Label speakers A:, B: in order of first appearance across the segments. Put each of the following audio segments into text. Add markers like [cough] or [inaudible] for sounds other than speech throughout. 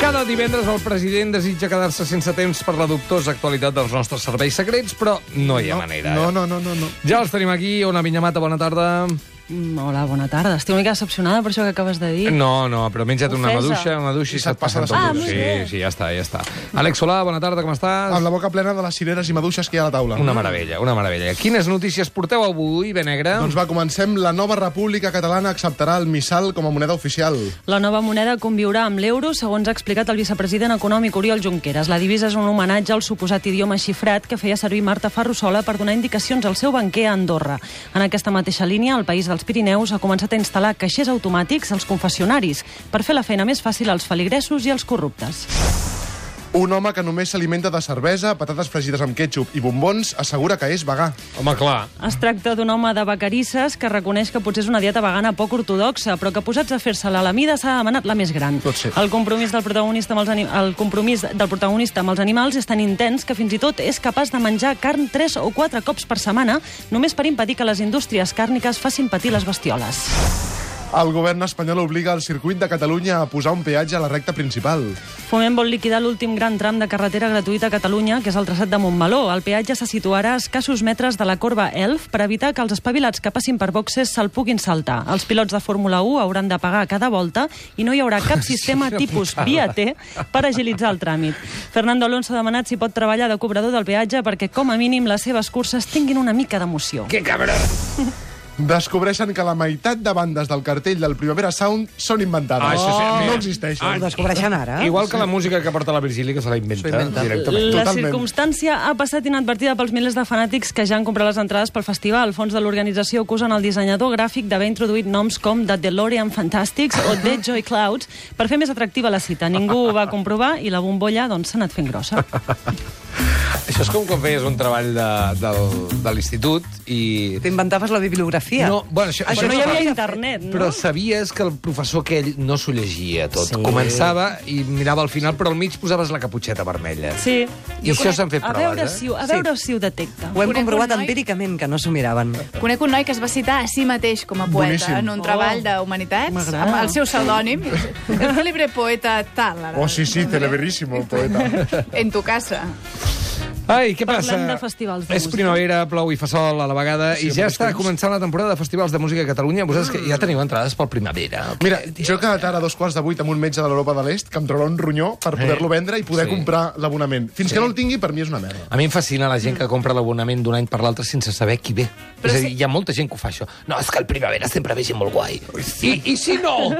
A: Cada divendres el president desitja quedar-se sense temps per la dubtosa actualitat dels nostres serveis secrets, però no hi ha manera. eh?
B: No, no, no, no. no.
A: Ja els tenim aquí. Ona Vinyamata, bona tarda.
C: Mm, Hola, bona tarda. Estic una mica decepcionada per això que acabes de dir.
A: No, no, però menja't una
C: Ofesa.
A: maduixa, una duixa i se't passa tot.
C: Ah, molt
A: sí,
C: bé.
A: sí, ja està, ja està. Àlex Solà, bona tarda, com estàs?
B: Amb la boca plena de les cireres i maduixes que hi ha a la taula.
A: Una meravella, una meravella. Quines notícies porteu avui, Benegra?
B: Doncs va, comencem. La nova república catalana acceptarà el missal com a moneda oficial.
C: La nova moneda conviurà amb l'euro, segons ha explicat el vicepresident econòmic Oriol Junqueras. La divisa és un homenatge al suposat idioma xifrat que feia servir Marta Ferrusola per donar indicacions al seu banquer a Andorra. En aquesta mateixa línia, el País dels Pirineus ha començat a instal·lar caixers automàtics als confessionaris per fer la feina més fàcil als feligresos i als corruptes.
B: Un home que només s'alimenta de cervesa, patates fregides amb ketchup i bombons assegura que és vegà.
A: Home, clar.
C: Es tracta d'un home de vacarisses que reconeix que potser és una dieta vegana poc ortodoxa, però que posats a fer-se-la a la mida s'ha demanat la més gran.
B: Pot ser.
C: El compromís del protagonista amb els, ani- el compromís del protagonista amb els animals és tan intens que fins i tot és capaç de menjar carn 3 o 4 cops per setmana només per impedir que les indústries càrniques facin patir les bestioles.
B: El govern espanyol obliga el circuit de Catalunya a posar un peatge a la recta principal.
C: Foment vol liquidar l'últim gran tram de carretera gratuïta a Catalunya, que és el traçat de Montmeló. El peatge se situarà a escassos metres de la corba Elf per evitar que els espavilats que passin per boxes se'l puguin saltar. Els pilots de Fórmula 1 hauran de pagar cada volta i no hi haurà cap sistema tipus via T per agilitzar el tràmit. Fernando Alonso ha demanat si pot treballar de cobrador del peatge perquè, com a mínim, les seves curses tinguin una mica d'emoció.
A: Que cabrón.
B: Descobreixen que la meitat de bandes del cartell del Primavera Sound són inventades.
A: Ah, això sí, mira.
B: no existeixen.
A: Ah,
D: Ho descobreixen ara?
A: Igual que la música que porta la Virgili, que se la inventa,
D: S'ho inventa.
A: directament.
C: La
B: Totalment.
C: circumstància ha passat inadvertida pels milers de fanàtics que ja han comprat les entrades pel festival. Fons de l'organització acusen el dissenyador gràfic d'haver introduït noms com The DeLorean Fantastics o The Joy Clouds per fer més atractiva la cita. Ningú ho va comprovar i la bombolla s'ha doncs, s'ha anat fent grossa.
A: Això és com quan feies un treball de, del, de l'institut i...
D: T'inventaves la bibliografia.
A: No, bueno, això-
C: Això
A: Però
C: no hi
A: no
C: havia
A: fa-
C: internet, no?
A: Però sabies que el professor aquell no s'ho llegia tot. Sí. Començava i mirava al final, però al mig posaves la caputxeta vermella.
C: Sí.
A: I això s'han fet
C: a
A: proves,
C: veure
A: eh?
C: si, ho- a veure si ho detecta.
D: Ho hem
E: Conec un
D: comprovat
E: noi-
D: empíricament, que no s'ho miraven.
E: Conec un noi que es va citar a si mateix com a poeta
B: Boníssim. Oh,
E: en un treball de humanitats,
C: M'agrada.
E: amb el seu
B: [laughs]
E: pseudònim, el célebre poeta tal. ara.
B: Oh, sí, sí, televeríssimo, poeta.
E: En tu casa.
A: Ai, què passa?
C: Parlem de festivals de
A: És
C: música.
A: primavera, plou i fa sol a la vegada sí, i ja està començant la temporada de festivals de música a Catalunya. Vosaltres que ja teniu entrades pel primavera.
B: Mira, jo he quedat ara a dos quarts de vuit amb un metge de l'Europa de l'Est que em traurà un ronyó per poder-lo vendre i poder
A: Sí.
B: comprar l'abonament. Fins que no el tingui, per mi és una merda.
A: A mi em fascina la gent que compra l'abonament d'un any per l'altre sense saber qui ve. Però
E: Però
A: és a dir,
E: si-
A: hi ha molta gent que ho fa, això. No, és que el primavera sempre ve gent molt guai. I, i si no?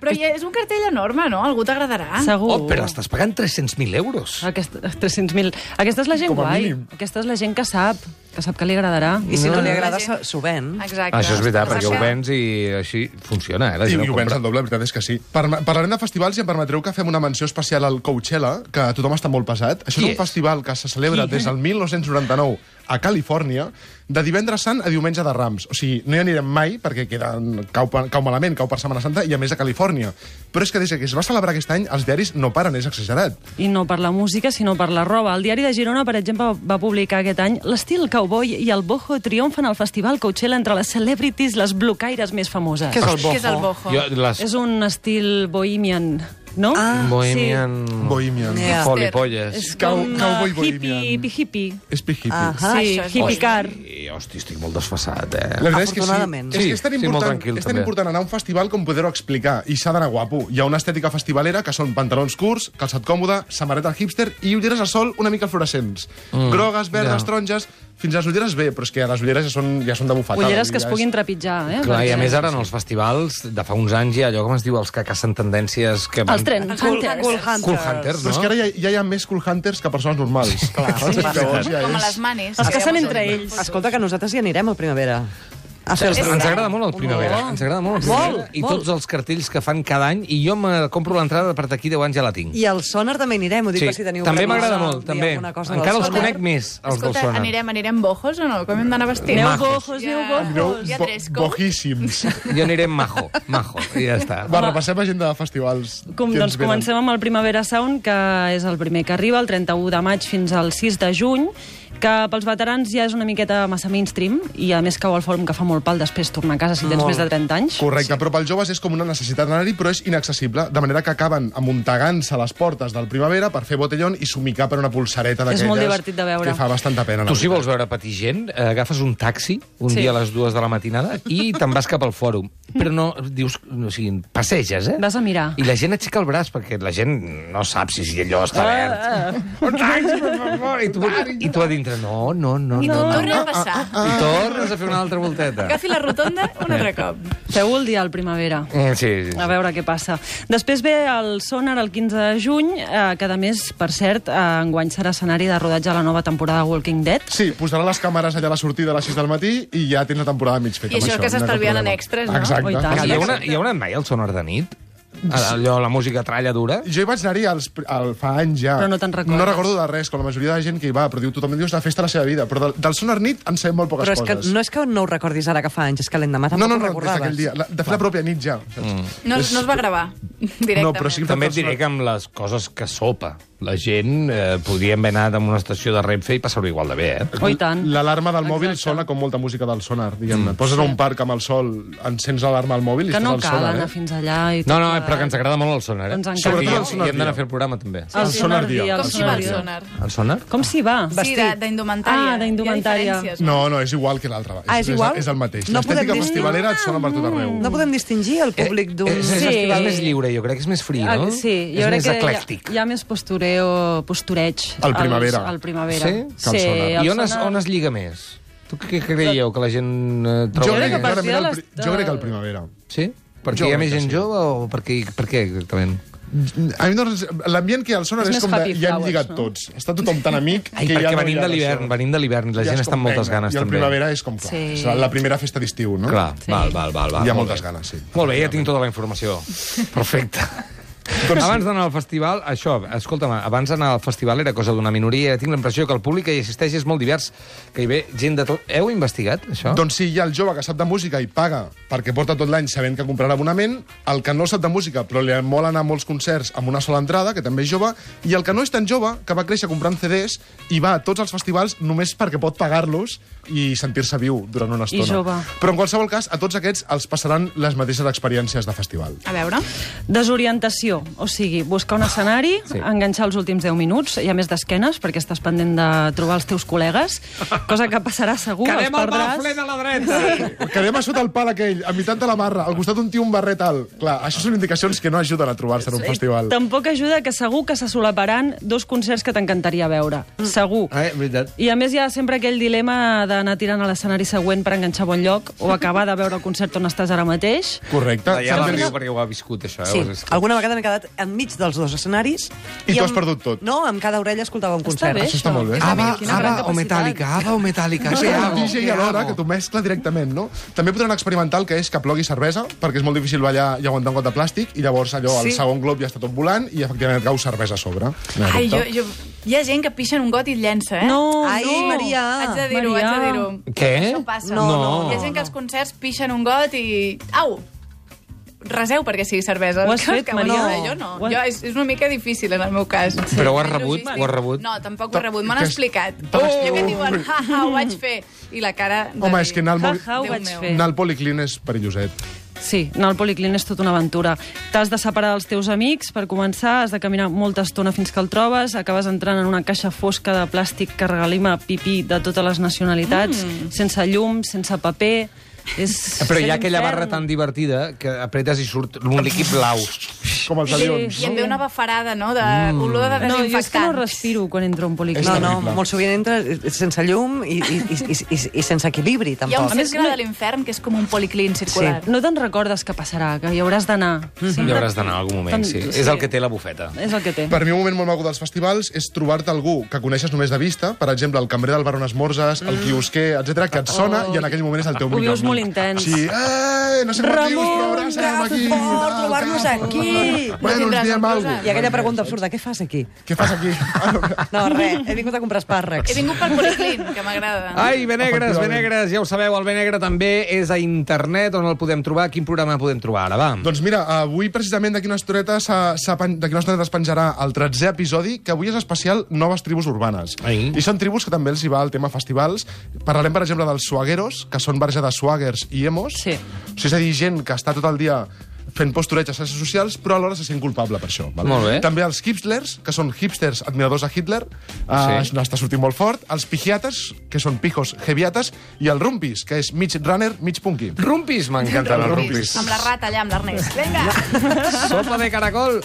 E: Però ja és un cartell enorme, no? Algú t'agradarà.
C: [laughs] Ah. Segur.
A: Oh, però estàs pagant 300.000 euros.
C: Aquest, 300.000. Aquesta és la gent
B: Com a
C: guai.
B: mínim.
C: Aquesta és la gent que sap, que sap que li agradarà.
D: I si no,
E: No.
D: li agrada,
E: La gent-
D: s'ho- s'ho ven.
E: Exacte.
A: i així funciona, eh? La
B: I, i ho vens al doble, la veritat és que sí. Per, parlarem de festivals i em permetreu que fem una menció especial al Coachella, que tothom està molt pesat. Això
A: Qui
B: és
A: és?
B: un festival que se celebra des del 1999 a Califòrnia, de divendres sant a diumenge de Rams. O sigui, no hi anirem mai, perquè queden, cau, pa- cau malament, cau per Setmana Santa, i a més a Califòrnia. Però és que des que es va celebrar aquest any, els diaris no paren, és exagerat.
C: I no per la música, sinó per la roba. El diari de Girona, per exemple, va publicar aquest any l'estil cowboy i el boho triomfen al festival Coachella entre les celebrities, les blocaires més famoses.
D: Què és el
E: Què és el
D: bojo?
E: bojo?
A: Jo, les
C: És un estil bohemian, no?
D: Ah,
A: Bohemian...
B: Bohemian.
D: Yeah.
A: Polipolles.
C: És
B: Cow-
C: com
B: cowboy
C: eh, hippie,
B: bohemian.
C: hippie, hippie.
B: És pic
D: Ah.
C: Ah, sí,
E: això és
C: hippie car.
A: I, hosti, estic molt desfassat,
B: La
A: eh?
B: veritat és que sí.
D: Afortunadament.
B: És
A: Sí,
B: que és tan
A: sí, molt
B: important,
A: tranquil,
B: és tan
A: també.
B: important anar a un festival com poder-ho explicar. I s'ha d'anar guapo. Hi ha una estètica festivalera que són pantalons curts, calçat còmode, samarreta hipster i ulleres de sol una mica fluorescents. Mm, Grogues, verdes,
A: ja.
B: taronges... Fins a les ulleres bé, però és que les ulleres ja són, ja són de bufetada.
C: Ulleres
B: ja
C: que es
B: és-
C: puguin trepitjar,
D: doncs
C: eh?
A: Clar, i a
C: Perquè-
A: més ara en els festivals de fa uns anys hi ha allò com es diu els que cacen tendències que... van-
C: Els trens.
D: Cool, cool
C: Hunters.
D: Hunters.
A: Cool Hunters,
B: Però és
A: no?
B: que ara ja, ja hi ha més cool hunters que persones normals. Clar, Llavors, ja
E: Com a
B: és...
E: les manis.
C: Els que estan entre ells.
D: Escolta, que nosaltres hi anirem a primavera. A fer el
A: Ens ens
D: programa.
A: agrada molt el Primavera. Ens agrada molt el Primavera. I tots els cartells que fan cada any. I jo me compro l'entrada per d'aquí 10 anys ja la tinc.
D: I al Sònar també anirem, ho dic per si teniu
A: també
D: alguna
A: m'agrada
D: cosa,
A: molt,
D: dir
A: també.
D: alguna cosa
A: Encara
D: del
A: els
D: Sónar.
A: conec més, els del
E: Escolta,
A: Sona.
E: anirem, anirem bojos o no? Com hem d'anar vestits?
C: Aneu
A: Majos.
C: bojos, aneu bojos.
B: Aneu
E: Hi ha
B: bo-
E: tres, com?
B: bojíssims.
A: Jo aniré amb majo, majo, i ja està.
B: Va, repassem agenda de festivals.
C: Com,
B: que ens
C: doncs
B: venen.
C: comencem amb el Primavera Sound, que és el primer que arriba, el 31 de maig fins al 6 de juny, que pels veterans ja és una miqueta massa mainstream i a més cau al fòrum que fa molt pal després tornar a casa si tens
D: Molt.
C: més de 30 anys.
B: Correcte, sí. però pels joves és com una necessitat d'anar-hi, però és inaccessible, de manera que acaben amuntegant-se a les portes del Primavera per fer botellón i somicar per una pulsareta d'aquelles...
C: molt divertit de veure.
B: Que fa bastanta pena. la
A: Tu, si
B: veritat.
A: vols veure patir gent, eh, agafes un taxi un
C: Sí.
A: sí. dia a les dues de la matinada i te'n vas cap al fòrum. Però no, dius, o sigui, passeges, eh?
C: Vas a mirar.
A: I la gent aixeca el braç, perquè la gent no sap si allò està
C: Ah,
A: verd. Un taxi, per favor! I tu, i tu a dintre, no, no, no,
E: I
A: no.
E: no,
A: no.
E: torna a passar.
B: Ah,
A: I tornes a fer una altra volteta.
E: Agafi la rotonda un altre cop.
C: Feu el dia al primavera.
A: Mm, Sí, sí,
C: A
A: sí.
C: veure què passa. Després ve el Sonar el 15 de juny, eh, que a més, per cert, eh, enguany serà escenari de rodatge a la nova temporada de Walking Dead.
B: Sí, posarà les càmeres allà a la sortida a les 6 del matí i ja tens la temporada mig feta.
E: I
B: amb
E: això
B: no
E: que
B: hi ha cap
E: s'estalvien
B: problema.
E: en extras, no?
C: Oh, i
B: Exacte.
C: tant.
A: Hi ha una, hi ha una mai al sonar de nit? Allò, la música tralla dura?
B: Jo hi vaig anar-hi als, al, fa anys ja.
C: Però no te'n recordes.
B: No recordo de res, com la majoria de la gent que hi va, però diu, tothom diu, és la festa de la seva vida. Però del, del Sonar Nit en sabem molt poques
D: Però és que
B: coses.
D: no és que no ho recordis ara que fa anys, és que l'endemà
B: no,
D: tampoc
B: no,
D: ho
B: no, des
D: recordaves.
B: d'aquell dia. La, de fer la pròpia nit ja. Mm.
E: No, es- no es va gravar directament.
B: No, però sí que
A: També et diré que amb les coses que sopa la gent eh, podria haver anat a una estació de Renfe i passar-ho igual de bé, eh?
C: Oh, i tant.
B: L'alarma del mòbil
C: Exacte.
B: sona com molta música del sonar, diguem-ne. Mm. Poses a un parc amb el sol, encens l'alarma al mòbil i
C: Que no
B: estàs al
C: cal
B: sonar.
C: anar
B: eh?
C: fins allà. I
A: No,
C: tot
A: no,
C: plegat.
A: però que ens agrada molt el sonar, eh?
C: Ens encanta.
B: Sobretot el
A: Sobretot
B: sonar
A: I hem d'anar
B: dia.
A: a fer el programa, també.
C: El
B: Sí.
C: Sonar
B: Sonar Dia.
C: Dia.
E: Com s'hi va el sonar?
A: El sonar?
C: Com s'hi va?
E: Sí,
D: Vestit.
E: de- d'indumentària.
C: Ah, d'indumentària.
E: Hi ha diferències,
B: No, no, és igual que l'altra.
D: Ah, és igual?
B: És, és el mateix.
D: No podem
B: L'estètica
D: dir-
B: festivalera et sona per tot arreu.
D: No podem distingir el
B: Eh,
D: públic d'un...
A: És, és,
C: Sí.
A: és més lliure, jo crec, és més fri,
C: Ah,
A: no?
C: Sí,
A: és
C: jo crec
A: més
C: que
A: eclèctic.
C: Hi ha, hi ha més postureo, postureig.
B: Al primavera.
C: Al, al primavera.
A: Sí?
B: Cal sonar.
C: al
A: I on es,
C: sonar.
A: on es lliga més? Tu què creieu, que la gent eh, troba...
B: Jo, crec
A: més?
B: que
C: a partir
B: clarament
C: de
B: el,
C: les-
B: pri- jo crec que el primavera.
A: Sí? Perquè
B: Jo
A: hi ha més
B: crec que
A: gent
B: sí.
A: jove o per què, per què exactament?
B: A mi no, l'ambient que hi ha al sonar
C: És
B: és,
C: més
B: com de,
C: happy
B: hi han
C: flowers,
B: lligat
C: no?
B: tots. Està tothom tan amic
A: Ai,
B: que
A: perquè
B: ja no
A: venim
B: hi ha
A: de l'hivern,
B: això.
A: venim de l'hivern, la
B: Ja
A: gent
B: és
A: està amb
B: com,
A: moltes
B: vinga,
A: ganes,
B: I el
A: també.
B: primavera és com, clar,
C: Sí.
B: sí. la primera festa d'estiu, no?
A: Clar,
C: Sí.
A: val, val, val, val.
B: Hi ha
A: molt
B: moltes
A: bé.
B: ganes, sí.
A: Molt bé, ja tinc tota la informació. [laughs] Perfecte. abans d'anar al festival, això, escolta'm, abans d'anar al festival era cosa d'una minoria, tinc la impressió que el públic que hi assisteix és molt divers, que hi ve gent de tot... Heu investigat, això?
B: Doncs sí, hi ha el jove que sap de música i paga perquè porta tot l'any sabent que comprarà abonament, el que no sap de música però li mola anar a molts concerts amb una sola entrada, que també és jove, i el que no és tan jove, que va créixer comprant CDs i va a tots els festivals només perquè pot pagar-los i sentir-se viu durant una estona.
C: jove.
B: Però en qualsevol cas, a tots aquests els passaran les mateixes experiències de festival.
E: no? A veure.
C: Desorientació, o sigui, buscar un escenari, sí. enganxar els últims 10 minuts, i a més d'esquenes, perquè estàs pendent de trobar els teus col·legues, cosa que passarà segur, els perdràs.
A: a la dreta!
B: Quedem a sota el pal aquell, a meitat de la barra, al costat d'un tio un barret alt. Clar, això són indicacions que no ajuden a trobar-se en un festival.
C: Tampoc ajuda que segur que se solaparan dos concerts que t'encantaria veure. Segur.
A: Ah, eh, veritat.
C: I a més hi ha sempre aquell dilema d'anar tirant a l'escenari següent per enganxar bon lloc o acabar de veure el concert on estàs ara mateix.
B: Correcte.
A: Ja la
B: Sempre
A: viu perquè ho ha viscut, això.
D: Sí,
A: Eh? Ho has viscut.
D: alguna vegada m'he quedat enmig dels dos escenaris.
B: I t'ho has
D: amb-
B: perdut tot.
D: No, amb cada orella escoltava un concert.
C: bé,
B: Això està molt bé.
C: És
A: Ava,
C: una- quina gran
A: Ava o
C: capacitat.
A: Metallica, Ava o Metallica,
B: Sí,
A: què
B: el
A: hago?
B: DJ
A: què
B: alhora,
A: hago?
B: que t'ho mescla directament, no? També podran experimentar el que és que plogui cervesa, perquè és molt difícil ballar i aguantar un got de plàstic, i llavors allò, sí.
D: Sí.
B: el segon glob ja està tot volant, i efectivament et cau cervesa a sobre. No hi ha
E: Ai, jo,
B: dubte.
E: jo... Hi ha gent que pixa en un got i el llença, eh?
C: No,
D: Ai,
C: no.
D: Maria.
E: Haig de dir-ho, haig
C: Maria.
E: de dir-ho.
A: Què?
E: Això passa.
D: No,
A: No. no,
E: Hi ha gent que als concerts pixen un got i... Au! Reseu perquè sigui cervesa.
C: Ho has
E: Que-
C: fet,
E: que,
C: Maria?
E: Bueno, jo no.
C: Ho has-
E: Jo, és, és una mica difícil, en el meu cas.
A: Però ho has
E: Ai,
A: rebut?
E: logístic.
A: Ho has rebut?
E: No, tampoc ho he rebut. Me
B: Que
E: l'han
B: és-
E: explicat.
A: Oh!
B: Te l'has-
E: Jo que et diuen, ha, ha, ho vaig fer. I la cara... de
B: Home,
E: dir,
B: és que anar al,
C: Ja,
B: movi...
C: ja ho
E: Déu
C: vaig
E: meu.
C: fer.
B: anar al policlin és perilloset.
C: Sí, anar al policlin és tota una aventura. T'has de separar dels teus amics, per començar, has de caminar molta estona fins que el trobes, acabes entrant en una caixa fosca de plàstic que regalim a pipí de totes les nacionalitats, mm. sense llum, sense paper... És
A: Però hi
C: ser
A: ha aquella
C: l'infern.
A: barra tan divertida que apretes i surt un líquid blau.
B: Com els avions.
E: I em ve una bafarada, no?, de
A: Mm.
E: olor de
C: No, jo és que no
E: desinfectant.
C: respiro quan entro a un policlin.
B: És
D: No, no,
B: terrible.
D: molt sovint entra eh, sense llum i, i, i, i, i sense equilibri,
E: Hi ha un
D: tampoc.
C: més,
E: cercle
C: no-
E: de l'infern que és com un policlin circular.
C: No te'n recordes que passarà, que hi hauràs d'anar.
A: Mm-hmm. Hi hauràs d'anar en algun moment, sí. És el que té la bufeta.
C: És el que té.
B: Per mi un moment molt maco dels festivals és trobar-te algú que coneixes només de vista, per exemple, el cambrer del bar on esmorzes, el quiosquer, etc que et sona i en aquell moment és el teu
C: Ho
B: millor
C: vius
B: amic.
C: molt intens.
B: Sí, eh, no sé com dius,
D: Ramon,
B: però abraça'm
D: braços
B: aquí.
D: forts,
B: tal,
D: trobar-nos
B: tal.
D: aquí.
B: Bueno, ens
E: Tindràs
B: diem
E: sorpresa.
B: alguna
D: I aquella pregunta absurda, què fas aquí?
B: Què fas aquí? Ah,
D: No, res, he vingut a comprar espàrrecs.
E: He vingut pel Policlin, que m'agrada.
A: Ai, Benegres,
B: Efectivament.
A: Benegres, ja ho sabeu, el Benegre també és a internet, on el podem trobar, quin programa podem trobar ara, va.
B: Doncs mira, avui precisament d'aquí una estoneta s'ha- s'ha pen- d'aquí una estoneta es penjarà el 13è episodi, que avui és especial Noves Tribus Urbanes.
A: Ai.
B: I són tribus que també els hi va el tema festivals. Parlarem, per exemple, dels suagueros, que són barja de suagers i emos.
C: Sí.
B: O sigui, és a dir, gent que està tot el dia fent postureig a xarxes socials, però alhora se sent culpable per això. Val?
A: Molt bé.
B: També els hipsters, que són hipsters admiradors de Hitler,
A: Sí.
B: eh, sí. n'està sortint molt fort, els pijiates, que són pijos heviates, i el rumpis, que és mig runner, mig punky.
A: Rumpis, m'encanten els rumpis.
E: Amb la rata allà, amb l'Ernest. Vinga!
A: Sopa de caracol